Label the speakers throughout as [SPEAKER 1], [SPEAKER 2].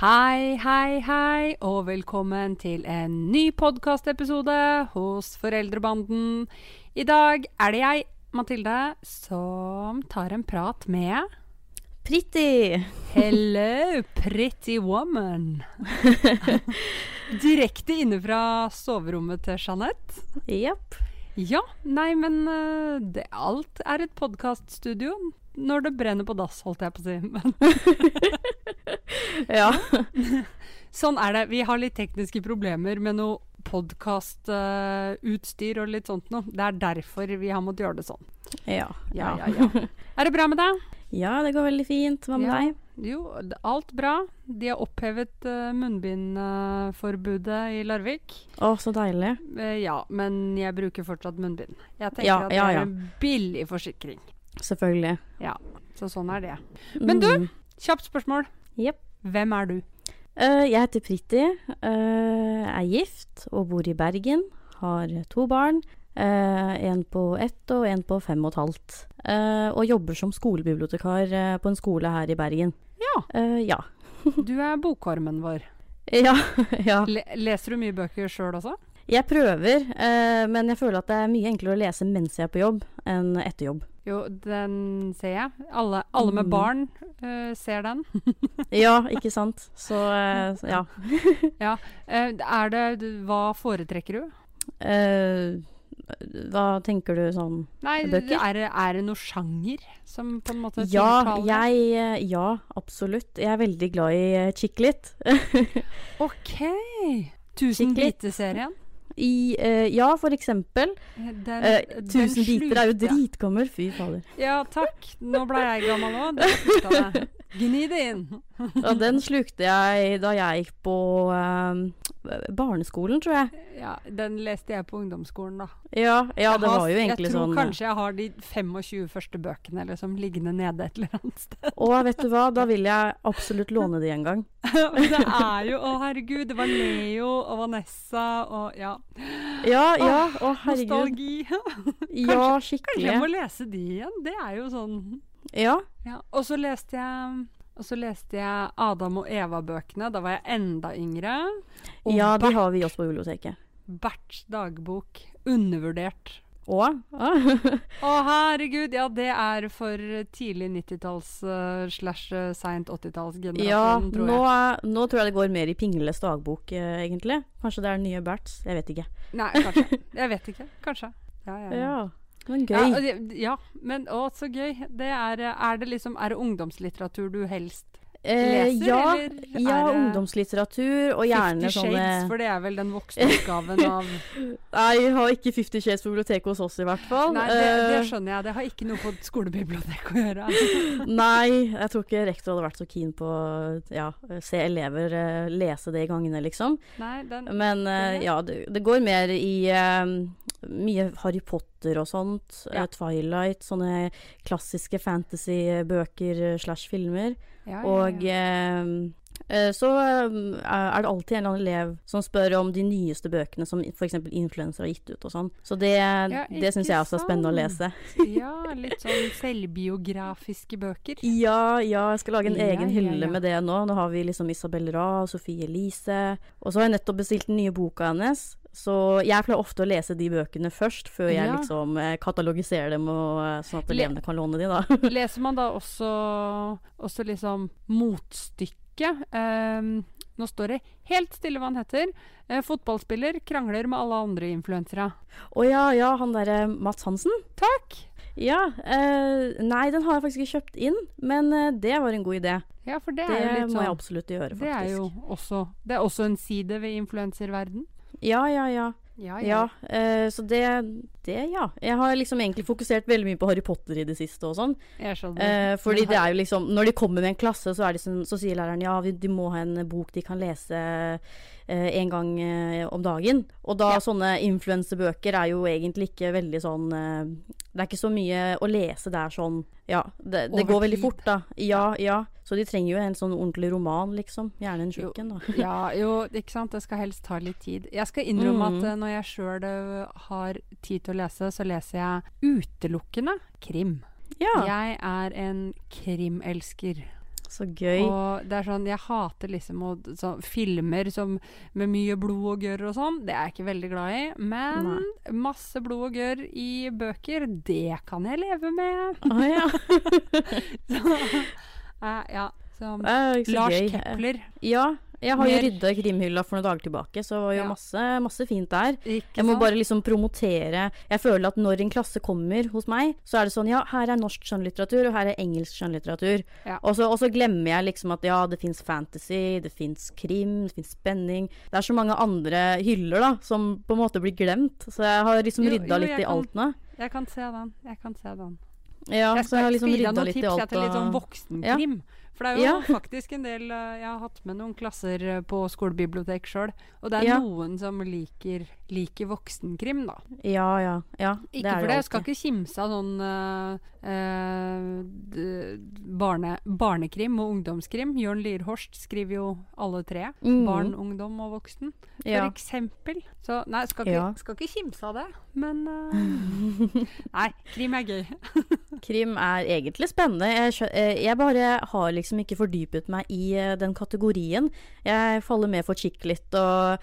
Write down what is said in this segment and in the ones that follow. [SPEAKER 1] Hei, hei, hei, og velkommen til en ny podkastepisode hos Foreldrebanden. I dag er det jeg, Mathilde, som tar en prat med
[SPEAKER 2] Pretty!
[SPEAKER 1] Hello, pretty woman. Direkte inne fra soverommet til Jeanette.
[SPEAKER 2] Jepp.
[SPEAKER 1] Ja, nei, men eh, det, alt er et podkaststudio. Når det brenner på dass, holdt jeg på å si. Men
[SPEAKER 2] Ja.
[SPEAKER 1] Sånn er det. Vi har litt tekniske problemer med noe podkastutstyr og litt sånt noe. Det er derfor vi har måttet gjøre det sånn.
[SPEAKER 2] ja. Ja, ja.
[SPEAKER 1] Er det bra med deg?
[SPEAKER 2] det går veldig fint. Hva med
[SPEAKER 1] Ja.
[SPEAKER 2] deg?
[SPEAKER 1] Jo, d- alt bra. De har opphevet eh, munnbindforbudet i Larvik.
[SPEAKER 2] Å, så deilig.
[SPEAKER 1] Eh, ja, men jeg bruker fortsatt munnbind. Jeg tenker
[SPEAKER 2] Ja,
[SPEAKER 1] at det
[SPEAKER 2] ja,
[SPEAKER 1] er
[SPEAKER 2] ja.
[SPEAKER 1] en billig forsikring.
[SPEAKER 2] Selvfølgelig.
[SPEAKER 1] Så sånn er det. Men du-
[SPEAKER 2] Mm.
[SPEAKER 1] Kjapt spørsmål.
[SPEAKER 2] Jepp.
[SPEAKER 1] Hvem er du?
[SPEAKER 2] Eh, jeg heter Pretty, eh, er gift og bor i Bergen. Har to barn. eh, en på ett og en på fem og et halvt. Eh, og jobber som skolebibliotekar eh, på en skole her i Bergen.
[SPEAKER 1] Ja.
[SPEAKER 2] Eh, ja.
[SPEAKER 1] Du er bokormen vår.
[SPEAKER 2] Ja, ja.
[SPEAKER 1] Le leser du mye bøker sjøl også?
[SPEAKER 2] Jeg prøver, eh, men jeg føler at det er mye enklere å lese mens jeg er på jobb, enn etter jobb.
[SPEAKER 1] Jo, den ser jeg. Alle, alle med
[SPEAKER 2] Mm.
[SPEAKER 1] barn eh, ser den.
[SPEAKER 2] Ja, ikke sant. Så eh, så ja.
[SPEAKER 1] Eh, er det du- Hva foretrekker du?
[SPEAKER 2] Eh, hva tenker du sånn
[SPEAKER 1] Nei,
[SPEAKER 2] Bøker?
[SPEAKER 1] Er, det- er det noe sjanger som på en måte
[SPEAKER 2] Ja,
[SPEAKER 1] tiltaler?
[SPEAKER 2] jeg eh, Ja, absolutt. Jeg er veldig glad i eh, chick-lit.
[SPEAKER 1] OK! Tusen
[SPEAKER 2] Skikkelig.
[SPEAKER 1] biter-serien.
[SPEAKER 2] I eh, Ja, for eksempel.
[SPEAKER 1] Den,
[SPEAKER 2] Eh,
[SPEAKER 1] den
[SPEAKER 2] Tusen biter er jo
[SPEAKER 1] slukte jeg.
[SPEAKER 2] dritgammel. Fy fader.
[SPEAKER 1] Ja, takk. Nå ble jeg gammel òg. Det slutta jeg. Gni det inn.
[SPEAKER 2] Og den slukte jeg da jeg gikk på eh, barneskolen, tror jeg.
[SPEAKER 1] Ja, den leste jeg på ungdomsskolen, da.
[SPEAKER 2] Ja, ja
[SPEAKER 1] Jeg
[SPEAKER 2] det
[SPEAKER 1] har-
[SPEAKER 2] var jo egentlig
[SPEAKER 1] Jeg tror
[SPEAKER 2] sånn.
[SPEAKER 1] kanskje jeg har de 25 første bøkene liksom, liggende nede et eller annet sted.
[SPEAKER 2] Og vet du hva, da vil jeg absolutt låne de en gang.
[SPEAKER 1] Men det er jo Å, herregud. Det var Leo og Vanessa og ja.
[SPEAKER 2] Ja, ja. Å, herregud.
[SPEAKER 1] Nostalgi.
[SPEAKER 2] Ja,
[SPEAKER 1] Kanskje jeg må
[SPEAKER 2] skikkelig.
[SPEAKER 1] lese de igjen. Det er jo sånn
[SPEAKER 2] Ja.
[SPEAKER 1] ja. Og så leste jeg og så leste jeg Adam og Eva-bøkene. Da var jeg enda yngre. Og
[SPEAKER 2] ja, de
[SPEAKER 1] Bert,
[SPEAKER 2] har vi også på biblioteket.
[SPEAKER 1] Berts dagbok. Undervurdert.
[SPEAKER 2] Og
[SPEAKER 1] Å, herregud! Ja, det er for tidlig 90-talls eh, slash eh, seint 80-tallsgenerasjon,
[SPEAKER 2] Ja,
[SPEAKER 1] tror
[SPEAKER 2] nå,
[SPEAKER 1] jeg.
[SPEAKER 2] er- nå tror jeg det går mer i Pingles dagbok, eh, egentlig. Kanskje det er den nye Berts, jeg vet ikke.
[SPEAKER 1] Nei, kanskje. Jeg vet ikke. Kanskje. Ja, ja, ja.
[SPEAKER 2] Men gøy.
[SPEAKER 1] Ja, og det- ja, men å, så gøy. Det er, er det liksom Er det ungdomslitteratur du helst
[SPEAKER 2] Eh,
[SPEAKER 1] leser,
[SPEAKER 2] ja,
[SPEAKER 1] eller er
[SPEAKER 2] ja
[SPEAKER 1] det
[SPEAKER 2] ungdomslitteratur, og gjerne
[SPEAKER 1] Fifty Shades,
[SPEAKER 2] sånne
[SPEAKER 1] for det er vel den voksne utgaven av
[SPEAKER 2] Nei, vi har ikke Fifty Shades på biblioteket hos oss, i hvert fall.
[SPEAKER 1] Nei, det, det
[SPEAKER 2] Eh,
[SPEAKER 1] skjønner jeg. Det har ikke noe på et skolebibliotek å gjøre.
[SPEAKER 2] nei, jeg tror ikke rektor hadde vært så keen på ja, se elever eh, lese det i gangene, liksom.
[SPEAKER 1] Nei, den
[SPEAKER 2] Men eh, ja, det, det går mer i eh, mye Harry Potter og sånt. eh,
[SPEAKER 1] Ja.
[SPEAKER 2] Twilight, sånne klassiske fantasy-bøker eh, slash filmer.
[SPEAKER 1] ja, ja,
[SPEAKER 2] Og
[SPEAKER 1] ja.
[SPEAKER 2] eh, eh, så eh, er det alltid en eller annen elev som spør om de nyeste bøkene som f.eks. influensere har gitt ut og sånn. Så det, det
[SPEAKER 1] ikke
[SPEAKER 2] syns jeg også er spennende å lese.
[SPEAKER 1] ja, litt sånn selvbiografiske bøker.
[SPEAKER 2] Ja, ja, jeg skal lage en
[SPEAKER 1] Ja,
[SPEAKER 2] egen
[SPEAKER 1] ja,
[SPEAKER 2] hylle
[SPEAKER 1] ja.
[SPEAKER 2] med det nå. Nå har vi liksom Isabel Ra, Sofie Elise. Og så har jeg nettopp bestilt den nye boka hennes. Så jeg pleier ofte å lese de bøkene først, før jeg
[SPEAKER 1] Ja.
[SPEAKER 2] liksom eh, katalogiserer dem, og, eh, sånn at
[SPEAKER 1] Le-
[SPEAKER 2] elevene kan låne de, da.
[SPEAKER 1] Leser man da også, også liksom motstykket? Ehm, nå står det helt stille hva han heter. Eh, fotballspiller krangler med alle andre influensere.
[SPEAKER 2] Å ja, ja, han derre Mats Hansen.
[SPEAKER 1] Takk!
[SPEAKER 2] Ja. Eh, nei, den har jeg faktisk ikke kjøpt inn, men eh, det var en god idé.
[SPEAKER 1] Ja, for det,
[SPEAKER 2] Det,
[SPEAKER 1] er jo litt
[SPEAKER 2] må jeg
[SPEAKER 1] sånn
[SPEAKER 2] absolutt gjøre,
[SPEAKER 1] Det er
[SPEAKER 2] faktisk.
[SPEAKER 1] jo også, det er også en side ved influenserverden.
[SPEAKER 2] Ja, ja, ja.
[SPEAKER 1] Ja,
[SPEAKER 2] Ja, eh, så det, det, ja. Jeg har liksom egentlig fokusert veldig mye på Harry Potter i det siste og sånn.
[SPEAKER 1] Jeg skjønner.
[SPEAKER 2] Eh, fordi
[SPEAKER 1] Men
[SPEAKER 2] det er jo liksom Når de kommer med en klasse, så, er de sånn, så sier læreren ja, vi- de må ha en bok de kan lese eh, en gang eh, om dagen. Og da
[SPEAKER 1] Ja.
[SPEAKER 2] sånne influensebøker er jo egentlig ikke veldig sånn eh, Det er ikke så mye å lese der sånn Ja. Det, det
[SPEAKER 1] Over
[SPEAKER 2] går veldig
[SPEAKER 1] tid.
[SPEAKER 2] fort, da. Ja, ja. Så de trenger jo en sånn ordentlig roman, liksom. Gjerne en
[SPEAKER 1] Jo.
[SPEAKER 2] tjukk en, da.
[SPEAKER 1] ja, jo, ikke sant. Det skal helst ta litt tid. Jeg skal innrømme
[SPEAKER 2] Mm.
[SPEAKER 1] at eh, når jeg sjøl har tid til å lese, så leser jeg utelukkende krim.
[SPEAKER 2] Ja.
[SPEAKER 1] Jeg er en krimelsker.
[SPEAKER 2] Så gøy.
[SPEAKER 1] Og det er sånn, Jeg hater liksom å, så, filmer som, med mye blod og gørr og sånn. Det er jeg ikke veldig glad i. Men masse blod og gørr i bøker, det kan jeg leve med.
[SPEAKER 2] Å ja.
[SPEAKER 1] Så, eh, ja, så,
[SPEAKER 2] Eh, så
[SPEAKER 1] Lars
[SPEAKER 2] gøy.
[SPEAKER 1] Kepler.
[SPEAKER 2] Ja. Jeg har jo
[SPEAKER 1] Mer-
[SPEAKER 2] rydda krimhylla for noen dager tilbake, så det var jo
[SPEAKER 1] Ja.
[SPEAKER 2] masse, masse fint der.
[SPEAKER 1] Ikke
[SPEAKER 2] Jeg må
[SPEAKER 1] sant?
[SPEAKER 2] bare liksom promotere Jeg føler at når en klasse kommer hos meg, så er det sånn Ja, her er norsk skjønnlitteratur, og her er engelsk skjønnlitteratur.
[SPEAKER 1] Ja.
[SPEAKER 2] Og, så, og så glemmer jeg liksom at ja, det fins fantasy, det fins krim, det fins spenning Det er så mange andre hyller, da, som på en måte blir glemt. Så jeg har liksom
[SPEAKER 1] Jo, jo,
[SPEAKER 2] rydda litt
[SPEAKER 1] jeg
[SPEAKER 2] i
[SPEAKER 1] kan-
[SPEAKER 2] altene.
[SPEAKER 1] Jeg kan se den. Jeg kan se den.
[SPEAKER 2] Ja,
[SPEAKER 1] jeg
[SPEAKER 2] så jeg
[SPEAKER 1] skal
[SPEAKER 2] har liksom
[SPEAKER 1] speede av
[SPEAKER 2] rydda
[SPEAKER 1] noen
[SPEAKER 2] litt
[SPEAKER 1] tips
[SPEAKER 2] i
[SPEAKER 1] jeg, til litt sånn
[SPEAKER 2] alt.
[SPEAKER 1] voksenkrim. For det er jo
[SPEAKER 2] Ja.
[SPEAKER 1] faktisk en del eh, Jeg har hatt med noen klasser eh, på skolebibliotek sjøl, og det er
[SPEAKER 2] Ja.
[SPEAKER 1] noen som liker, liker voksenkrim, da.
[SPEAKER 2] Og, ja, ja. ja
[SPEAKER 1] Ikke for det, jeg skal
[SPEAKER 2] alltid.
[SPEAKER 1] ikke kimse av sånn eh, eh, d- barne, barnekrim og ungdomskrim. Jørn Lierhorst skriver jo alle tre.
[SPEAKER 2] Mhm.
[SPEAKER 1] Barn, ungdom og voksen, for
[SPEAKER 2] Ja.
[SPEAKER 1] eksempel. Så nei, skal ikke,
[SPEAKER 2] Ja.
[SPEAKER 1] skal ikke kimse av det, men eh, Nei, krim er gøy.
[SPEAKER 2] Krim er egentlig spennende. Jeg, skjø- eh, jeg bare har liksom ikke fordypet meg i eh, den kategorien. Jeg faller med for Chick-Lit og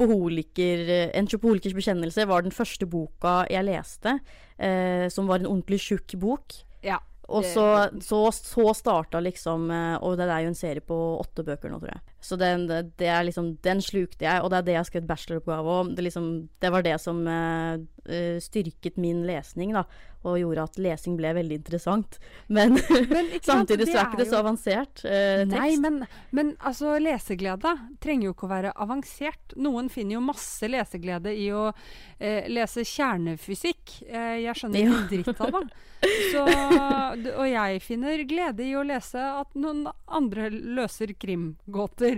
[SPEAKER 2] Sjopoholiker En sjopoholikers bekjennelse var den første boka jeg leste, eh, som var en ordentlig tjukk bok.
[SPEAKER 1] Ja.
[SPEAKER 2] Og
[SPEAKER 1] det-
[SPEAKER 2] så, så, så starta liksom eh, Og det er jo en serie på åtte bøker nå, tror jeg. Så den, det er liksom, den slukte jeg, og det er det jeg har skrevet bacheloroppgave om. Det, liksom, det var det som eh, eh, styrket min lesning, da. Og gjorde at lesing ble veldig interessant. Men,
[SPEAKER 1] Men ikke sant,
[SPEAKER 2] samtidig så er ikke det
[SPEAKER 1] jo-
[SPEAKER 2] så avansert eh, tekst.
[SPEAKER 1] Nei, men, men altså, leseglede trenger jo ikke å være avansert. Noen finner jo masse leseglede i å eh, lese kjernefysikk. Eh, jeg skjønner ikke en dritt av det. Så, d- og jeg finner glede i å lese at noen andre løser krimgåter.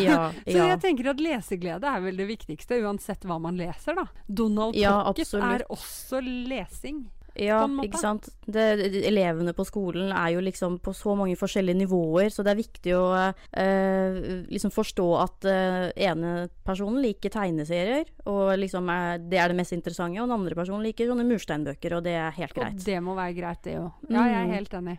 [SPEAKER 2] Ja,
[SPEAKER 1] Så
[SPEAKER 2] ja.
[SPEAKER 1] jeg tenker at leseglede er vel det viktigste, uansett hva man leser, da. Donald
[SPEAKER 2] Ja,
[SPEAKER 1] Pocket
[SPEAKER 2] absolutt.
[SPEAKER 1] er også lesing.
[SPEAKER 2] Ja,
[SPEAKER 1] på en måte.
[SPEAKER 2] ikke sant. Det, de- elevene på skolen er jo liksom på så mange forskjellige nivåer, så det er viktig å eh, liksom forstå at eh, ene personen liker tegneserier, og liksom er, det er det mest interessante, og den andre personen liker sånne mursteinbøker, og det er helt greit. Mm.
[SPEAKER 1] Og det må være greit, det jo. Ja, jeg er helt enig.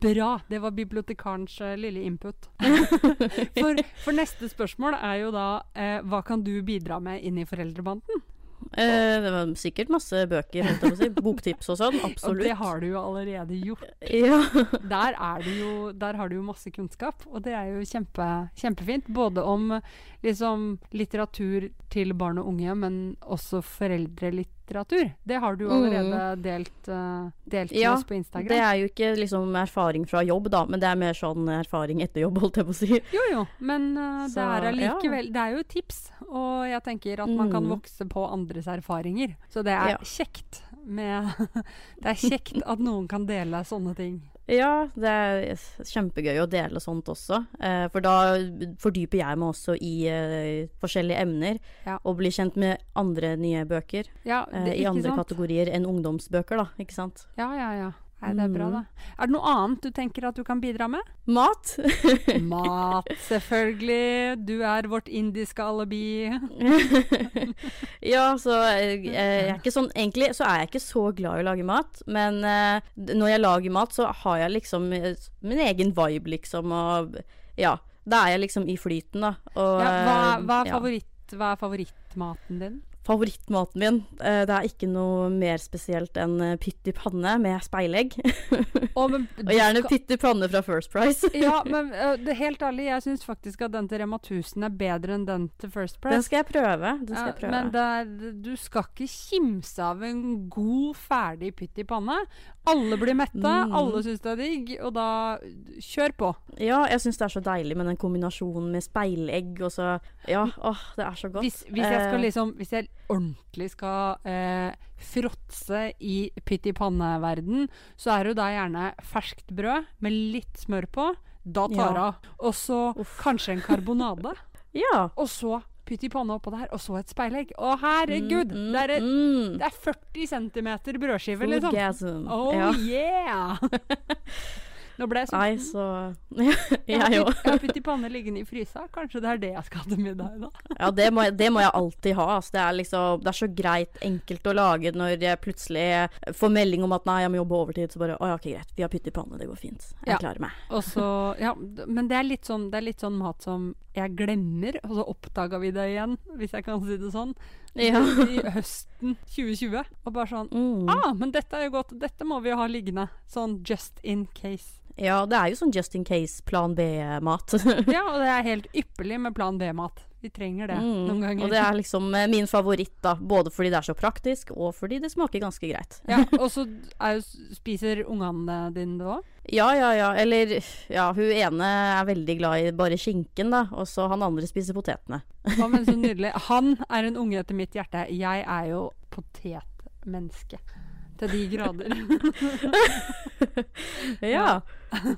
[SPEAKER 1] Bra! Det var bibliotekarens eh, lille input. for, for neste spørsmål er jo da eh, hva kan du bidra med inn i foreldrebanden?
[SPEAKER 2] Eh, det var sikkert masse bøker, holdt jeg på å si. Boktips og sånn,
[SPEAKER 1] Og
[SPEAKER 2] absolutt.
[SPEAKER 1] det har du jo allerede gjort.
[SPEAKER 2] Ja.
[SPEAKER 1] Der, er du jo, der har du jo masse kunnskap, og det er jo kjempe, kjempefint. Både om eh, liksom, litteratur til barn og unge, men også foreldrelitteratur. Det har du jo allerede delt, eh, delt med
[SPEAKER 2] Mm. Ja,
[SPEAKER 1] oss på Instagram.
[SPEAKER 2] Det er jo ikke liksom erfaring fra jobb, da, men det er mer sånn erfaring etter jobb, holdt jeg på å si.
[SPEAKER 1] Jo jo, men eh,
[SPEAKER 2] Så,
[SPEAKER 1] det er
[SPEAKER 2] ja.
[SPEAKER 1] allikevel Det er jo tips, og jeg tenker at man kan
[SPEAKER 2] Mm.
[SPEAKER 1] vokse på andres erfaringer. Så det er
[SPEAKER 2] Ja.
[SPEAKER 1] kjekt med Det er kjekt at noen kan dele sånne ting.
[SPEAKER 2] Ja, det er kjempegøy å dele sånt også. eh, For da fordyper jeg meg også i eh, forskjellige emner.
[SPEAKER 1] Ja.
[SPEAKER 2] Og blir kjent med andre nye bøker.
[SPEAKER 1] Ja,
[SPEAKER 2] eh,
[SPEAKER 1] det,
[SPEAKER 2] I
[SPEAKER 1] ikke
[SPEAKER 2] andre
[SPEAKER 1] sant?
[SPEAKER 2] kategorier enn ungdomsbøker, da. Ikke sant.
[SPEAKER 1] Ja, ja, ja. Nei, det er bra,
[SPEAKER 2] Mm.
[SPEAKER 1] da. Er det noe annet du tenker at du kan bidra med?
[SPEAKER 2] Mat!
[SPEAKER 1] Mat, selvfølgelig. Du er vårt indiske alibi.
[SPEAKER 2] ja, så eh, jeg er ikke sånn Egentlig så er jeg ikke så glad i å lage mat, men eh, d- når jeg lager mat, så har jeg liksom eh, min egen vibe, liksom, og ja. Da er jeg liksom i flyten, da. Og, eh,
[SPEAKER 1] Ja, hva, hva, er
[SPEAKER 2] ja.
[SPEAKER 1] favoritt, hva er favorittmaten din?
[SPEAKER 2] Favorittmaten min eh, Det er ikke noe mer spesielt enn eh, pytt i panne med speilegg.
[SPEAKER 1] Å, men
[SPEAKER 2] Og gjerne pytt i panne fra First Price.
[SPEAKER 1] Ja, men ø, det, helt ærlig, jeg syns faktisk at den til Rema 1000 er bedre enn den til First
[SPEAKER 2] Den
[SPEAKER 1] Price.
[SPEAKER 2] skal jeg prøve. Den skal
[SPEAKER 1] Ja,
[SPEAKER 2] jeg prøve.
[SPEAKER 1] men det er, du skal ikke kimse av en god, ferdig pytt i panne. Alle blir mette,
[SPEAKER 2] Mm.
[SPEAKER 1] alle syns det er digg, og da kjør på.
[SPEAKER 2] Ja, jeg syns det er så deilig med den kombinasjonen med speilegg og så Ja, åh, det er så godt.
[SPEAKER 1] Hvis, hvis jeg skal
[SPEAKER 2] Eh,
[SPEAKER 1] liksom Hvis jeg ordentlig skal eh, fråtse i pytt i panne-verden, så er det jo da gjerne ferskt brød med litt smør på. Da
[SPEAKER 2] Ja.
[SPEAKER 1] tar det av. Og så
[SPEAKER 2] Uff.
[SPEAKER 1] kanskje en karbonade.
[SPEAKER 2] Ja.
[SPEAKER 1] Og så pytt i panna oppå der, og så et speilegg. Å, herregud!
[SPEAKER 2] Mm,
[SPEAKER 1] det, er et,
[SPEAKER 2] mm,
[SPEAKER 1] det er 40 cm brødskive, liksom.
[SPEAKER 2] Orgasm.
[SPEAKER 1] Oh
[SPEAKER 2] ja.
[SPEAKER 1] yeah! Nå ble jeg sulten.
[SPEAKER 2] Nei, så Ja,
[SPEAKER 1] Jeg
[SPEAKER 2] jeg
[SPEAKER 1] har
[SPEAKER 2] òg.
[SPEAKER 1] putt- jeg har pyttipanne liggende i frysa. Kanskje det er det jeg skal til middag i dag.
[SPEAKER 2] Ja, det må, jeg, det må jeg alltid ha. Altså, det, er liksom, det er så greit enkelt å lage når jeg plutselig får melding om at nei, jeg må jobbe overtid. Så bare å ja, ok, greit, vi har pytt i panne, det går fint. Jeg
[SPEAKER 1] Ja.
[SPEAKER 2] klarer meg.
[SPEAKER 1] Og så, ja, d- men det er, litt sånn, det er litt sånn mat som jeg glemmer, og så oppdaga vi det igjen, hvis jeg kan si det sånn,
[SPEAKER 2] Ja.
[SPEAKER 1] i høsten 2020. Og bare sånn
[SPEAKER 2] Mm.
[SPEAKER 1] Ah, men dette er jo godt. Dette må vi jo ha liggende. Sånn just in case.
[SPEAKER 2] Ja, det er jo sånn just in case plan B-mat.
[SPEAKER 1] Ja, og det er helt ypperlig med plan B-mat. Vi trenger det
[SPEAKER 2] Mm.
[SPEAKER 1] noen
[SPEAKER 2] Og
[SPEAKER 1] ganger.
[SPEAKER 2] det er liksom eh, min favoritt, da. Både fordi det er så praktisk, og fordi det smaker ganske greit.
[SPEAKER 1] Ja, og så er jo- spiser ungene dine det òg?
[SPEAKER 2] Ja, ja, ja. Eller ja, hun ene er veldig glad i bare skinken, da. Og så han andre spiser potetene.
[SPEAKER 1] Ja, men så sånn nydelig. Han er en unge etter mitt hjerte. Jeg er jo potetmenneske. Til de grader.
[SPEAKER 2] Ja.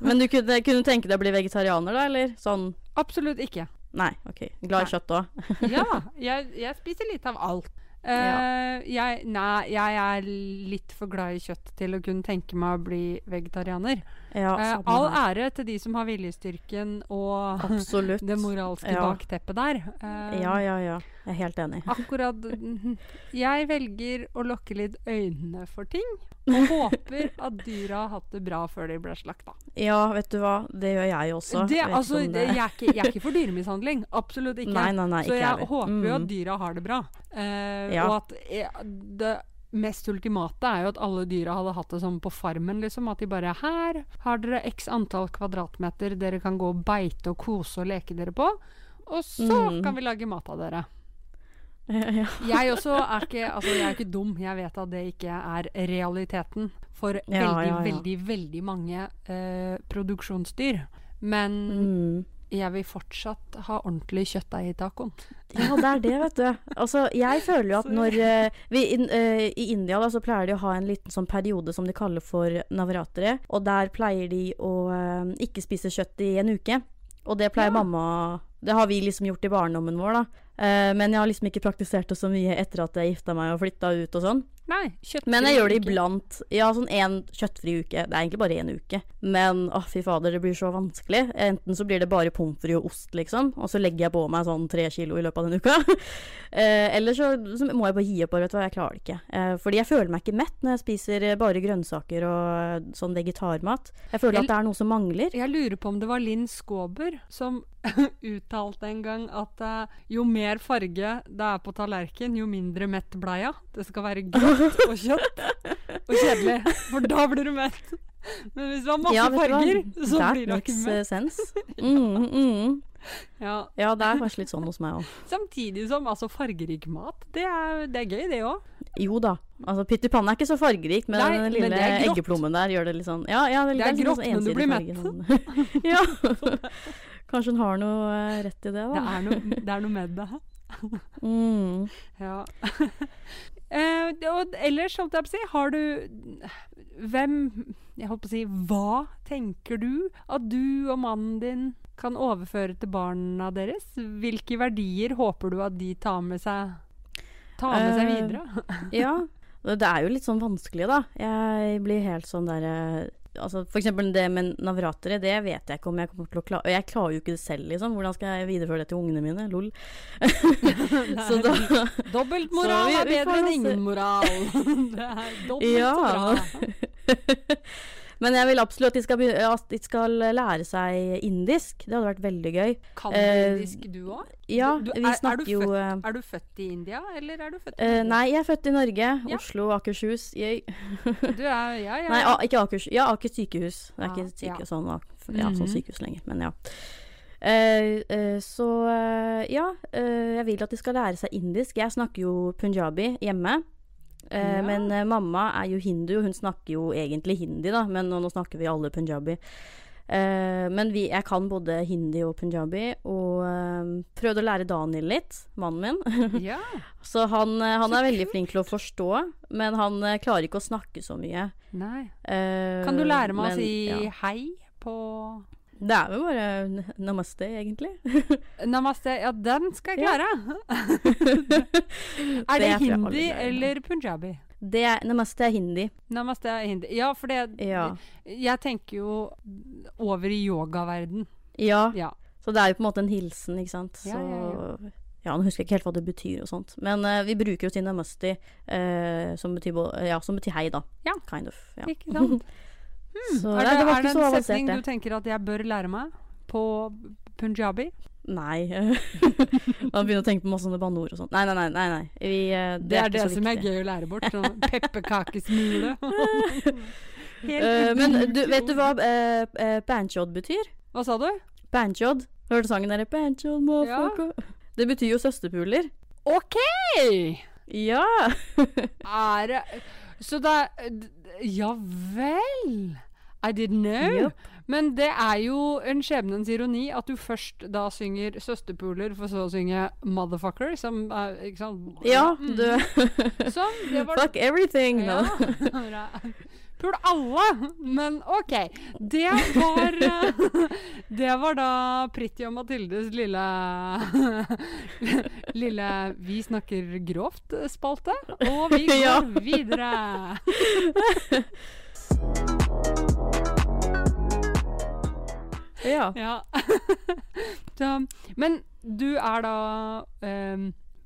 [SPEAKER 2] Men du kunne, kunne tenke deg å bli vegetarianer, da? Eller sånn
[SPEAKER 1] Absolutt ikke.
[SPEAKER 2] Nei, ok. Glad i kjøtt òg?
[SPEAKER 1] Ja, jeg, jeg spiser litt av alt. Eh, jeg, nei, jeg er litt for glad i kjøtt til å kunne tenke meg å bli vegetarianer.
[SPEAKER 2] Ja,
[SPEAKER 1] Eh,
[SPEAKER 2] samme
[SPEAKER 1] all
[SPEAKER 2] her.
[SPEAKER 1] ære til de som har viljestyrken og
[SPEAKER 2] Absolutt.
[SPEAKER 1] det moralske
[SPEAKER 2] Ja.
[SPEAKER 1] bakteppet der. Eh,
[SPEAKER 2] Ja, ja, ja. Jeg er helt enig.
[SPEAKER 1] Akkurat mhm. Jeg velger å lukke litt øynene for ting, og håper at dyra har hatt det bra før de ble slakta.
[SPEAKER 2] Ja, vet du hva. Det gjør jeg også.
[SPEAKER 1] Det,
[SPEAKER 2] Jeg vet ikke
[SPEAKER 1] altså,
[SPEAKER 2] om
[SPEAKER 1] det, jeg, er ikke, jeg er ikke for dyremishandling. Absolutt ikke.
[SPEAKER 2] Nei, nei, nei,
[SPEAKER 1] Så
[SPEAKER 2] ikke
[SPEAKER 1] jeg
[SPEAKER 2] heller.
[SPEAKER 1] håper jo
[SPEAKER 2] Mm.
[SPEAKER 1] at dyra har det bra. Eh,
[SPEAKER 2] Ja.
[SPEAKER 1] Og at eh, det mest ultimate er jo at alle dyra hadde hatt det som på farmen, liksom. At de bare Her har dere x antall kvadratmeter dere kan gå og beite og kose og leke dere på. Og så
[SPEAKER 2] Mm.
[SPEAKER 1] kan vi lage mat av dere.
[SPEAKER 2] Ja,
[SPEAKER 1] Jeg også er ikke, altså jeg er ikke dum. Jeg vet at det ikke er realiteten for veldig,
[SPEAKER 2] ja, ja.
[SPEAKER 1] veldig, veldig mange eh, produksjonsdyr. Men
[SPEAKER 2] mm.
[SPEAKER 1] jeg vil fortsatt ha ordentlig kjøttdeig i tacoen.
[SPEAKER 2] ja, det er det, vet du. Altså, jeg føler jo at
[SPEAKER 1] Sorry.
[SPEAKER 2] når eh, vi inn- eh, I India da, så pleier de å ha en liten sånn periode som de kaller for navratri. Og der pleier de å eh, ikke spise kjøtt i en uke. Og det pleier
[SPEAKER 1] Ja.
[SPEAKER 2] mamma Det har vi liksom gjort i barndommen vår, da. Eh, men jeg har liksom ikke praktisert det så mye etter at jeg gifta meg og flytta ut og sånn.
[SPEAKER 1] Nei, kjøttfri
[SPEAKER 2] Men jeg gjør det
[SPEAKER 1] uke.
[SPEAKER 2] iblant. Ja, sånn én kjøttfri uke. Det er egentlig bare én uke. Men å, fy fader, det blir så vanskelig. Enten så blir det bare pommes frites og ost, liksom, og så legger jeg på meg sånn tre kilo i løpet av den uka. eh, eller så, så må jeg bare gi opp, bare, vet du hva, jeg klarer det ikke. Eh, fordi jeg føler meg ikke mett når jeg spiser eh, bare grønnsaker og eh, sånn vegetarmat. Jeg føler at det er noe som mangler.
[SPEAKER 1] Jeg lurer på om det var Linn Skåber som uttalte en gang at eh, jo mer farge det er på tallerken, jo mindre mett blei jeg. Det skal være grått og kjøtt og kjedelig, for da blir du mett. Men hvis det var masse
[SPEAKER 2] vet du hva?
[SPEAKER 1] farger, så
[SPEAKER 2] That
[SPEAKER 1] blir du ikke
[SPEAKER 2] makes,
[SPEAKER 1] mett.
[SPEAKER 2] eh, sense. Mm, mm.
[SPEAKER 1] Ja.
[SPEAKER 2] Ja, det er kanskje litt sånn hos meg òg.
[SPEAKER 1] Samtidig som altså, fargerik mat, det er, det er gøy, det òg.
[SPEAKER 2] Jo da. Altså, Pytt i panna er ikke så fargerikt, men
[SPEAKER 1] Nei,
[SPEAKER 2] den
[SPEAKER 1] men
[SPEAKER 2] lille
[SPEAKER 1] det er grått.
[SPEAKER 2] eggeplommen der gjør det litt sånn Ja, ja
[SPEAKER 1] Det er
[SPEAKER 2] litt
[SPEAKER 1] grått, men du
[SPEAKER 2] ensidig
[SPEAKER 1] blir
[SPEAKER 2] farge, sånn. ja. Kanskje hun har noe eh, rett i det,
[SPEAKER 1] Det,
[SPEAKER 2] da.
[SPEAKER 1] er noe- det er noe med det.
[SPEAKER 2] Mm.
[SPEAKER 1] Ja. Eh, det- og ellers, holdt jeg på å si, har du Hvem Jeg holdt på å si Hva tenker du at du og mannen din kan overføre til barna deres? Hvilke verdier håper du at de tar med seg, tar med seg
[SPEAKER 2] Eh,
[SPEAKER 1] videre?
[SPEAKER 2] Ja. Det er jo litt sånn vanskelig, da. Jeg blir helt sånn derre Altså, for eksempel det med navratere, det vet jeg ikke om jeg kommer til å klare. Og jeg klarer jo ikke det selv, liksom. Hvordan skal jeg videreføre det til ungene mine? Lol. Eh, Så da
[SPEAKER 1] Dobbeltmoral
[SPEAKER 2] så
[SPEAKER 1] er
[SPEAKER 2] vi- vi
[SPEAKER 1] bedre
[SPEAKER 2] får
[SPEAKER 1] enn
[SPEAKER 2] også-
[SPEAKER 1] ingen moral. Det er dobbelt
[SPEAKER 2] Ja.
[SPEAKER 1] bra.
[SPEAKER 2] Men jeg vil absolutt at de skal, begynne, at de skal lære seg indisk. Det hadde vært veldig gøy.
[SPEAKER 1] Kan du
[SPEAKER 2] Eh,
[SPEAKER 1] indisk, du òg?
[SPEAKER 2] Ja,
[SPEAKER 1] Du- du- er- er
[SPEAKER 2] vi
[SPEAKER 1] du
[SPEAKER 2] snakker jo eh,
[SPEAKER 1] Er du født i India, eller er du født i
[SPEAKER 2] Eh,
[SPEAKER 1] Norge?
[SPEAKER 2] nei, jeg er født i Norge. Oslo, Akershus. Yay.
[SPEAKER 1] Du er, ja, ja.
[SPEAKER 2] Nei, a ikke Akers. Ja, Aker sykehus. Det er
[SPEAKER 1] Ja,
[SPEAKER 2] ikke syke,
[SPEAKER 1] ja.
[SPEAKER 2] sånn, ak- ja,
[SPEAKER 1] Mhm.
[SPEAKER 2] sånn sykehus lenger, men ja. Eh, eh, så eh, ja, eh, jeg vil at de skal lære seg indisk. Jeg snakker jo punjabi hjemme. eh,
[SPEAKER 1] Ja.
[SPEAKER 2] Men eh, mamma er jo hindu, og hun snakker jo egentlig hindi, da, men nå, nå snakker vi alle punjabi. Eh, men vi, jeg kan både hindi og punjabi, og eh, prøvde å lære Daniel litt, mannen min.
[SPEAKER 1] ja.
[SPEAKER 2] Så han, eh, han
[SPEAKER 1] Så
[SPEAKER 2] er veldig flink til å forstå, men han eh, klarer ikke å snakke så mye.
[SPEAKER 1] Nei.
[SPEAKER 2] Eh,
[SPEAKER 1] Kan du lære meg å
[SPEAKER 2] men,
[SPEAKER 1] si
[SPEAKER 2] ja.
[SPEAKER 1] hei på
[SPEAKER 2] Det er vel bare n- namaste, egentlig.
[SPEAKER 1] Namaste. Ja, den skal jeg
[SPEAKER 2] Ja.
[SPEAKER 1] klare. er
[SPEAKER 2] Det
[SPEAKER 1] det
[SPEAKER 2] er for alle
[SPEAKER 1] hindi
[SPEAKER 2] greiene.
[SPEAKER 1] eller punjabi?
[SPEAKER 2] Det, er, namaste er hindi.
[SPEAKER 1] Namaste er hindi. Ja, for det
[SPEAKER 2] Ja.
[SPEAKER 1] Jeg tenker jo over i yogaverden.
[SPEAKER 2] ja.
[SPEAKER 1] Ja.
[SPEAKER 2] Så det er jo på en måte en hilsen, ikke sant. Så,
[SPEAKER 1] Ja, ja,
[SPEAKER 2] ja, Nå husker jeg ikke helt hva det betyr og sånt. Men eh, vi bruker jo til namaste, eh, som, betyr, bo- ja, som betyr hei, da.
[SPEAKER 1] Ja.
[SPEAKER 2] Kind of. Ja.
[SPEAKER 1] Ikke sant?
[SPEAKER 2] Så
[SPEAKER 1] er
[SPEAKER 2] nei,
[SPEAKER 1] det,
[SPEAKER 2] det var
[SPEAKER 1] er det
[SPEAKER 2] ikke
[SPEAKER 1] en
[SPEAKER 2] så
[SPEAKER 1] setning
[SPEAKER 2] avansert,
[SPEAKER 1] du
[SPEAKER 2] det.
[SPEAKER 1] tenker at jeg bør lære meg på punjabi?
[SPEAKER 2] Nei. Man begynner å tenke på masse sånne banneord og sånn. Nei, nei, nei. nei, nei. Vi, eh,
[SPEAKER 1] Det, er det
[SPEAKER 2] ikke så
[SPEAKER 1] som er
[SPEAKER 2] viktig.
[SPEAKER 1] gøy å lære bort. Sånn pepperkakesmule.
[SPEAKER 2] Eh,
[SPEAKER 1] Helt
[SPEAKER 2] men du,
[SPEAKER 1] ubrukelig
[SPEAKER 2] vet du
[SPEAKER 1] ord.
[SPEAKER 2] hva uh, banchod betyr?
[SPEAKER 1] Hva sa du?
[SPEAKER 2] Banchod. Hørte sangen der? Banchod, motherfucker. Det betyr jo søsterpuler.
[SPEAKER 1] OK!
[SPEAKER 2] Ja!
[SPEAKER 1] Er det Så da Ja vel! I didn't know.
[SPEAKER 2] Yep.
[SPEAKER 1] Men det er jo en skjebnens ironi at du først da synger 'Søsterpuler', for så å synge 'Motherfucker', som er Ikke sant?
[SPEAKER 2] Ja,
[SPEAKER 1] Mm.
[SPEAKER 2] du
[SPEAKER 1] Sånn, det var
[SPEAKER 2] Fuck everything!
[SPEAKER 1] Ja.
[SPEAKER 2] nå.
[SPEAKER 1] bra. Pul alle, men OK. Det var eh, Det var da Pritty og Mathildes lille Lille Vi snakker grovt-spalte. Og vi går
[SPEAKER 2] Ja.
[SPEAKER 1] videre.
[SPEAKER 2] Ja.
[SPEAKER 1] Ja. Så, men du er da eh,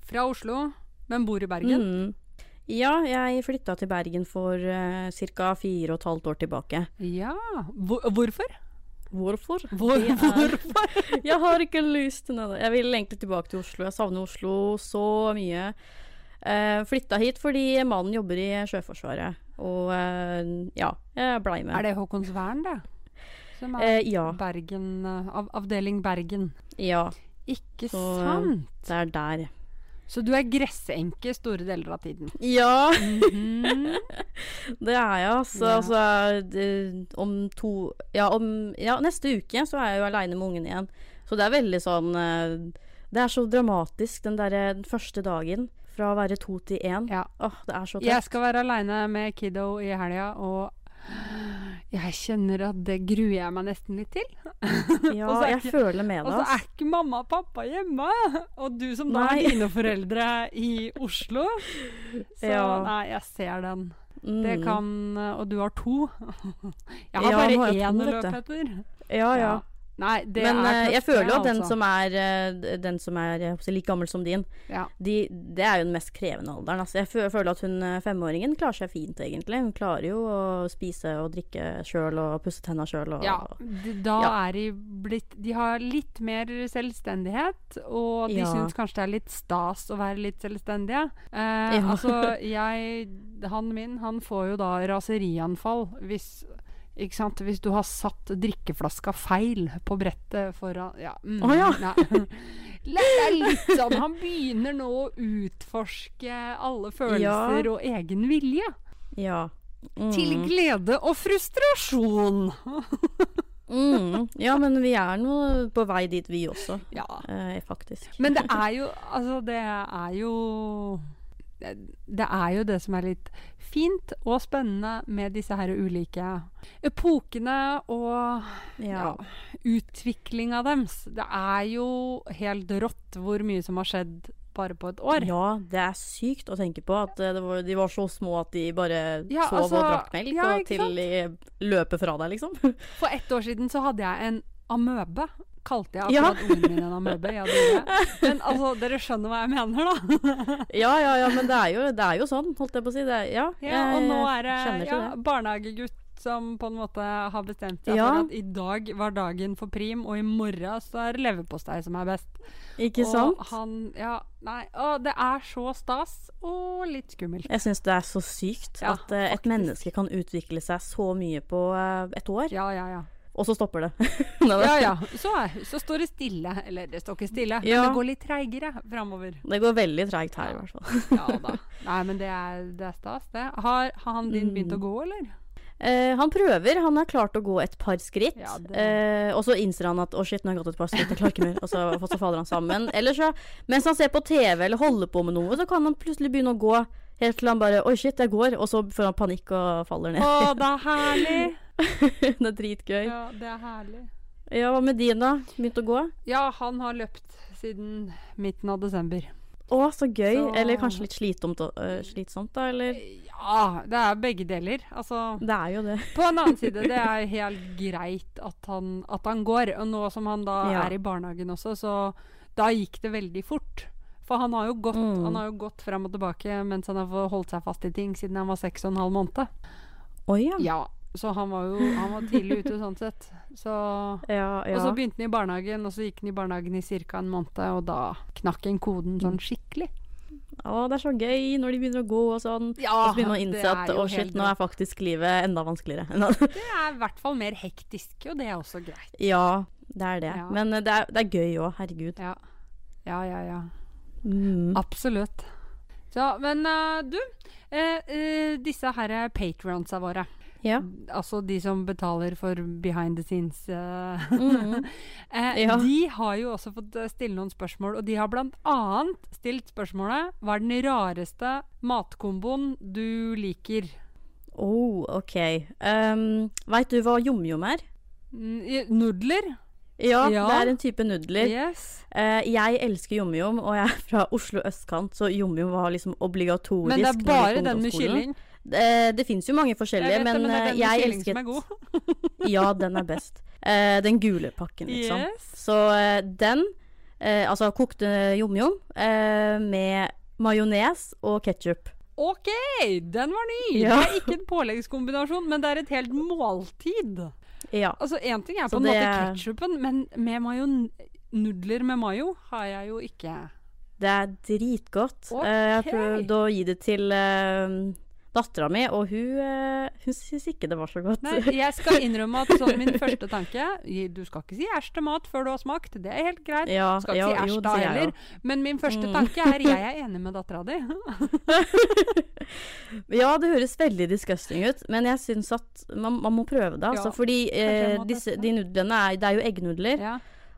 [SPEAKER 1] fra Oslo, men bor i Bergen.
[SPEAKER 2] Mm. Ja, jeg flytta til Bergen for uh, ca. fire og et halvt år tilbake.
[SPEAKER 1] Ja. Hvor, hvorfor?
[SPEAKER 2] Hvorfor?
[SPEAKER 1] Hvor,
[SPEAKER 2] Det er-
[SPEAKER 1] hvorfor?
[SPEAKER 2] Jeg har ikke lyst til noe. Jeg vil egentlig tilbake til Oslo. Jeg savner Oslo så mye. Uh, flytta hit fordi mannen jobber i Sjøforsvaret. Og eh, ja, jeg blei med.
[SPEAKER 1] Er det Håkonsvern, det? Som er
[SPEAKER 2] Eh, ja.
[SPEAKER 1] Bergen, eh, av, avdeling Bergen.
[SPEAKER 2] Ja,
[SPEAKER 1] Ikke
[SPEAKER 2] Så, eh,
[SPEAKER 1] sant?
[SPEAKER 2] det er der.
[SPEAKER 1] Så du er gressenke store deler av tiden.
[SPEAKER 2] Ja,
[SPEAKER 1] Mhm.
[SPEAKER 2] det er jeg, altså.
[SPEAKER 1] Ja.
[SPEAKER 2] altså det, om to ja, om, ja, neste uke så er jeg jo aleine med ungen igjen. Så det er veldig sånn eh, Det er så dramatisk, den derre den første dagen. Fra å være to til én.
[SPEAKER 1] Ja.
[SPEAKER 2] Åh, det er så tøft.
[SPEAKER 1] Jeg skal være aleine med kiddo i helga, og jeg kjenner at det gruer jeg meg nesten litt til.
[SPEAKER 2] Ja,
[SPEAKER 1] Og så er
[SPEAKER 2] jeg
[SPEAKER 1] ikke-
[SPEAKER 2] føler med
[SPEAKER 1] Og
[SPEAKER 2] deg.
[SPEAKER 1] så
[SPEAKER 2] ass.
[SPEAKER 1] er ikke mamma og pappa hjemme! Og du som da
[SPEAKER 2] Nei.
[SPEAKER 1] er dine foreldre i Oslo. Så
[SPEAKER 2] Ja.
[SPEAKER 1] nei, jeg ser den.
[SPEAKER 2] Mm.
[SPEAKER 1] Det kan Og du har to. Jeg har
[SPEAKER 2] Ja, nå
[SPEAKER 1] bare
[SPEAKER 2] har jeg
[SPEAKER 1] én
[SPEAKER 2] to,
[SPEAKER 1] å
[SPEAKER 2] vet
[SPEAKER 1] løpe
[SPEAKER 2] du.
[SPEAKER 1] etter.
[SPEAKER 2] Ja, ja.
[SPEAKER 1] Ja. Nei, det
[SPEAKER 2] Men
[SPEAKER 1] er
[SPEAKER 2] eh, jeg
[SPEAKER 1] tøft,
[SPEAKER 2] føler
[SPEAKER 1] det,
[SPEAKER 2] jo at den
[SPEAKER 1] altså.
[SPEAKER 2] som er, eh, den som er jeg håper å si, like gammel som din,
[SPEAKER 1] Ja.
[SPEAKER 2] de, det er jo den mest krevende alderen. Altså, jeg fø- føler at hun eh, femåringen klarer seg fint, egentlig. Hun klarer jo å spise og drikke sjøl og pusse tenna sjøl og
[SPEAKER 1] Ja, d- da
[SPEAKER 2] Ja.
[SPEAKER 1] er de blitt De har litt mer selvstendighet, og de
[SPEAKER 2] Ja.
[SPEAKER 1] syns kanskje det er litt stas å være litt selvstendige. Eh,
[SPEAKER 2] Ja.
[SPEAKER 1] Altså, jeg Han min, han får jo da raserianfall hvis ikke sant? Hvis du har satt drikkeflaska feil på brettet foran Ja. Mm,
[SPEAKER 2] Å ja.
[SPEAKER 1] nei. Det er litt sånn Han begynner nå å utforske alle følelser og egen vilje.
[SPEAKER 2] Ja. Mm.
[SPEAKER 1] Til glede og frustrasjon.
[SPEAKER 2] Mm. Ja, men vi er nå på vei dit, vi også,
[SPEAKER 1] Ja.
[SPEAKER 2] eh, faktisk.
[SPEAKER 1] Men det er jo Altså, det er jo det er jo det som er litt fint og spennende med disse her ulike epokene og ja,
[SPEAKER 2] Ja.
[SPEAKER 1] utviklinga deres. Det er jo helt rått hvor mye som har skjedd bare på et år.
[SPEAKER 2] ja, det er sykt å tenke på at eh, det var, de var så små at de bare
[SPEAKER 1] Ja,
[SPEAKER 2] sov
[SPEAKER 1] altså,
[SPEAKER 2] og drakk melk,
[SPEAKER 1] ja,
[SPEAKER 2] og
[SPEAKER 1] ikke
[SPEAKER 2] til de løper fra deg, liksom.
[SPEAKER 1] For ett år siden så hadde jeg en amøbe. Kalte jeg
[SPEAKER 2] Ja.
[SPEAKER 1] akkurat ungen min en amøbe? Ja, det gjorde jeg. Men altså, dere skjønner hva jeg mener, da.
[SPEAKER 2] Ja, ja, ja, men det er jo, det er jo sånn, holdt jeg på å si. Det er, ja,
[SPEAKER 1] Ja, og
[SPEAKER 2] jeg
[SPEAKER 1] nå er det
[SPEAKER 2] kjenner
[SPEAKER 1] ja,
[SPEAKER 2] til det.
[SPEAKER 1] barnehagegutt som på en måte har bestemt seg
[SPEAKER 2] Ja.
[SPEAKER 1] for at i dag var dagen for prim, og i morgen så er det leverpostei som er best.
[SPEAKER 2] Ikke
[SPEAKER 1] og
[SPEAKER 2] sant?
[SPEAKER 1] han Ja, nei. Å, det er så stas og litt skummelt.
[SPEAKER 2] Jeg syns det er så sykt
[SPEAKER 1] Ja,
[SPEAKER 2] at eh, et menneske kan utvikle seg så mye på eh, et år,
[SPEAKER 1] Ja, ja, ja.
[SPEAKER 2] og så stopper det. Nei, det-
[SPEAKER 1] Ja, ja. Så, er- så står det stille. Eller det står ikke stille,
[SPEAKER 2] Ja.
[SPEAKER 1] men det går litt treigere framover.
[SPEAKER 2] Det går veldig treigt her, i hvert fall.
[SPEAKER 1] Ja da. Nei, men det er, det er stas, det. Har, har han din begynt å
[SPEAKER 2] Mm.
[SPEAKER 1] gå, eller?
[SPEAKER 2] Eh, han prøver, han har klart å gå et par skritt.
[SPEAKER 1] Ja, det-
[SPEAKER 2] eh, og så innser han at 'å, shit, nå har jeg gått et par skritt, jeg klarer ikke mer'. Og så, og så faller han sammen. Eller så, mens han ser på TV eller holder på med noe, så kan han plutselig begynne å gå. Helt til han bare 'oi, shit, jeg går', og så får han panikk og faller ned.
[SPEAKER 1] Å, det er herlig!
[SPEAKER 2] det er dritgøy.
[SPEAKER 1] Ja, det er herlig.
[SPEAKER 2] Ja, hva med din da? Begynt å gå?
[SPEAKER 1] Ja, han har løpt siden midten av desember.
[SPEAKER 2] Å, så gøy.
[SPEAKER 1] Så-
[SPEAKER 2] Eller kanskje litt slitsomt, og- øh, slitsomt, da? Eller
[SPEAKER 1] Ja, Ah, det er begge deler. Altså
[SPEAKER 2] Det er jo det.
[SPEAKER 1] På en annen side, det er helt greit at han, at han går. Og nå som han da
[SPEAKER 2] Ja.
[SPEAKER 1] er i barnehagen også, så da gikk det veldig fort. For han har jo gått,
[SPEAKER 2] Mm.
[SPEAKER 1] han har jo gått frem og tilbake mens han har fått holdt seg fast i ting siden han var seks og en halv måned.
[SPEAKER 2] Å ja.
[SPEAKER 1] Ja, så han var jo han var tidlig ute sånn sett. Så,
[SPEAKER 2] Ja,
[SPEAKER 1] Og så
[SPEAKER 2] ja.
[SPEAKER 1] begynte han i barnehagen, og så gikk han i barnehagen i ca. en måned, og da knakk han koden
[SPEAKER 2] Mm.
[SPEAKER 1] sånn skikkelig.
[SPEAKER 2] Å, det er så gøy når de begynner å gå og sånn.
[SPEAKER 1] Ja,
[SPEAKER 2] Og så begynner man å innse at å shit, nå
[SPEAKER 1] bra.
[SPEAKER 2] er faktisk livet enda vanskeligere.
[SPEAKER 1] Det er i hvert fall mer hektisk, og det er også greit.
[SPEAKER 2] ja, det er det.
[SPEAKER 1] Ja.
[SPEAKER 2] Men øh, det er, det er gøy òg, herregud.
[SPEAKER 1] Ja, ja, ja. ja.
[SPEAKER 2] Mm.
[SPEAKER 1] Absolutt. Så, men eh, du, eh, eh, disse her patronsa våre,
[SPEAKER 2] Ja.
[SPEAKER 1] altså de som betaler for behind the scenes, eh,
[SPEAKER 2] Mhm.
[SPEAKER 1] eh,
[SPEAKER 2] Ja.
[SPEAKER 1] de har jo også fått eh, stille noen spørsmål, og de har blant annet stilt spørsmålet Hva er den rareste matkomboen du liker?
[SPEAKER 2] Oh, OK. Um, Veit du hva jomjom er?
[SPEAKER 1] Mm, i- Nudler?
[SPEAKER 2] Ja,
[SPEAKER 1] Ja.
[SPEAKER 2] det er en type nudler.
[SPEAKER 1] Yes.
[SPEAKER 2] Eh, jeg elsker jomjom, og jeg er fra Oslo østkant, så jomjom var liksom obligatorisk.
[SPEAKER 1] Men det er
[SPEAKER 2] når jeg gikk
[SPEAKER 1] bare
[SPEAKER 2] på
[SPEAKER 1] den med
[SPEAKER 2] ungdomsskolen.
[SPEAKER 1] kylling.
[SPEAKER 2] Eh, det fins jo mange
[SPEAKER 1] Jeg
[SPEAKER 2] forskjellige,
[SPEAKER 1] vet det,
[SPEAKER 2] men,
[SPEAKER 1] men det er
[SPEAKER 2] eh,
[SPEAKER 1] den med
[SPEAKER 2] jeg
[SPEAKER 1] kylling som
[SPEAKER 2] elsket
[SPEAKER 1] er god.
[SPEAKER 2] Ja, den er best. Eh, den gule pakken, liksom.
[SPEAKER 1] Yes.
[SPEAKER 2] Så eh, den, eh, altså kokte jomjom eh, med majones og ketsjup.
[SPEAKER 1] Ok, den var ny!
[SPEAKER 2] Ja.
[SPEAKER 1] Det er ikke en påleggskombinasjon, men det er et helt måltid.
[SPEAKER 2] Ja.
[SPEAKER 1] Altså, én ting er på
[SPEAKER 2] Så
[SPEAKER 1] en
[SPEAKER 2] det-
[SPEAKER 1] måte ketsjupen, men med mayo, nudler med mayo har jeg jo ikke.
[SPEAKER 2] Det er dritgodt.
[SPEAKER 1] Ok.
[SPEAKER 2] Eh, jeg har prøvd å gi det til uh, dattera mi, og hun, eh, hun syns ikke det var så godt.
[SPEAKER 1] Nei, jeg skal innrømme at sånn min første tanke i- Du skal ikke si æsj til mat før du har smakt, det er helt greit.
[SPEAKER 2] Ja,
[SPEAKER 1] Skal ikke
[SPEAKER 2] ja,
[SPEAKER 1] si æsj
[SPEAKER 2] jo, det
[SPEAKER 1] da
[SPEAKER 2] sier jeg
[SPEAKER 1] heller.
[SPEAKER 2] jo.
[SPEAKER 1] Men min første
[SPEAKER 2] Mm.
[SPEAKER 1] tanke er jeg er enig med dattera di.
[SPEAKER 2] Ja, det høres veldig disgusting ut, men jeg syns at man, man må prøve det.
[SPEAKER 1] Ja,
[SPEAKER 2] Altså, fordi eh,
[SPEAKER 1] jeg må
[SPEAKER 2] disse,
[SPEAKER 1] teste.
[SPEAKER 2] de nudlene er, det er jo eggnudler,
[SPEAKER 1] Ja.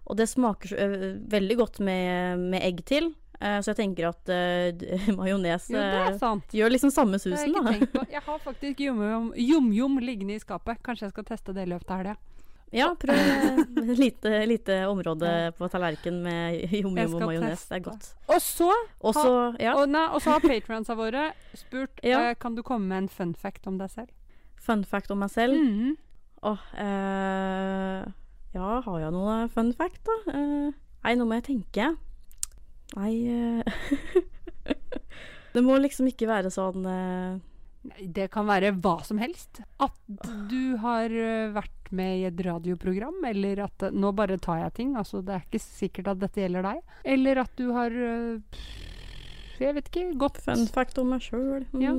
[SPEAKER 2] og det smaker så, ø, veldig godt med, med egg til. Eh, så jeg tenker at uh, majones
[SPEAKER 1] Jo, det er
[SPEAKER 2] eh,
[SPEAKER 1] sant.
[SPEAKER 2] gjør liksom samme
[SPEAKER 1] Det har jeg
[SPEAKER 2] susen,
[SPEAKER 1] ikke
[SPEAKER 2] da.
[SPEAKER 1] tenkt på. Jeg har faktisk jomjom jom-jom liggende i skapet. Kanskje jeg skal teste det i løpet av helga.
[SPEAKER 2] Ja, prøv eh, et lite, lite område på tallerkenen med
[SPEAKER 1] Jeg
[SPEAKER 2] jom-jom
[SPEAKER 1] skal
[SPEAKER 2] og majones.
[SPEAKER 1] teste.
[SPEAKER 2] Det er godt.
[SPEAKER 1] Og så
[SPEAKER 2] Og så, ja,
[SPEAKER 1] og, nei, og så har patronsa våre spurt
[SPEAKER 2] Ja.
[SPEAKER 1] eh, Kan du komme med en fun fact om deg selv.
[SPEAKER 2] fun fact om meg selv.
[SPEAKER 1] Mhm.
[SPEAKER 2] Åh, eh, ja, har jeg noen fun fact, da? Eh, nei, nå må jeg tenke. Nei eh, Det må liksom ikke være sånn eh,
[SPEAKER 1] Nei, Det kan være hva som helst. At du har ø, vært med i et radioprogram, eller at ø, Nå bare tar jeg ting, altså det er ikke sikkert at dette gjelder deg. Eller at du har ø, pff, Jeg vet ikke. Gått
[SPEAKER 2] Fun fact om meg sjøl.
[SPEAKER 1] Ja.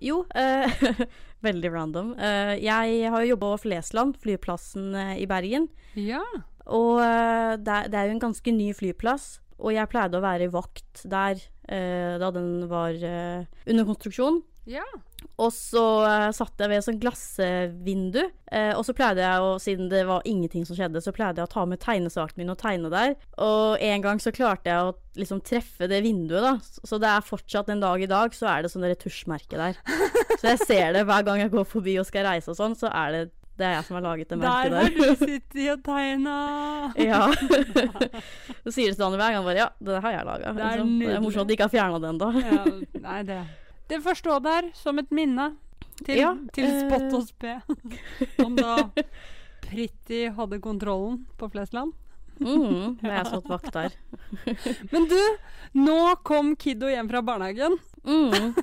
[SPEAKER 2] jo, eh, veldig random. Eh, jeg har jo jobba på Flesland, flyplassen eh, i Bergen.
[SPEAKER 1] Ja.
[SPEAKER 2] Og eh, det, er- det er jo en ganske ny flyplass, og jeg pleide å være vakt der eh, da den var eh, under konstruksjon.
[SPEAKER 1] Ja.
[SPEAKER 2] Og så eh, satt jeg ved et sånt glassvindu, eh, og så pleide jeg å, siden det var ingenting som skjedde, så pleide jeg å ta med tegnesakene mine og tegne der. Og en gang så klarte jeg å liksom treffe det vinduet, da. Så- Så det er fortsatt en dag i dag, så er det sånn retusjmerke der. Så jeg ser det hver gang jeg går forbi og skal reise og sånn, så er det det er jeg som har laget det merket
[SPEAKER 1] Der
[SPEAKER 2] der.
[SPEAKER 1] har du sittet og tegna!
[SPEAKER 2] Ja. Så sier det til han hver gang bare Ja, det der har jeg laga.
[SPEAKER 1] Det er
[SPEAKER 2] Liksom. Det er
[SPEAKER 1] nydelig.
[SPEAKER 2] morsomt at de ikke har fjerna den, da.
[SPEAKER 1] Ja, nei, det Det får stå der som et minne til,
[SPEAKER 2] Ja, eh.
[SPEAKER 1] til
[SPEAKER 2] ø,
[SPEAKER 1] spott og spe. Om da Pretty hadde kontrollen på Flesland.
[SPEAKER 2] Mm, det er jeg som har vakt der.
[SPEAKER 1] Men du, nå kom Kiddo hjem fra barnehagen.
[SPEAKER 2] Mm.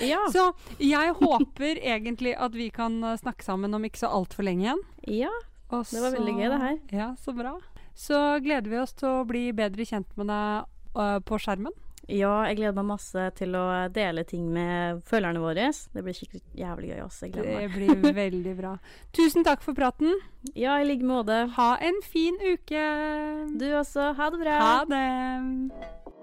[SPEAKER 2] Ja.
[SPEAKER 1] Så jeg håper egentlig at vi kan eh, snakke sammen om ikke så altfor lenge igjen.
[SPEAKER 2] ja.
[SPEAKER 1] Og
[SPEAKER 2] Det var veldig
[SPEAKER 1] så-
[SPEAKER 2] gøy, det her.
[SPEAKER 1] Ja, så bra. Så gleder vi oss til å bli bedre kjent med deg eh, på skjermen.
[SPEAKER 2] Ja, jeg gleder meg masse til å dele ting med følgerne våre. Det blir skikkelig jævlig gøy også. Jeg gleder meg.
[SPEAKER 1] Det blir veldig bra. Tusen takk for praten.
[SPEAKER 2] Ja, i like måte.
[SPEAKER 1] Ha en fin uke.
[SPEAKER 2] Du også. Ha det bra.
[SPEAKER 1] Ha det.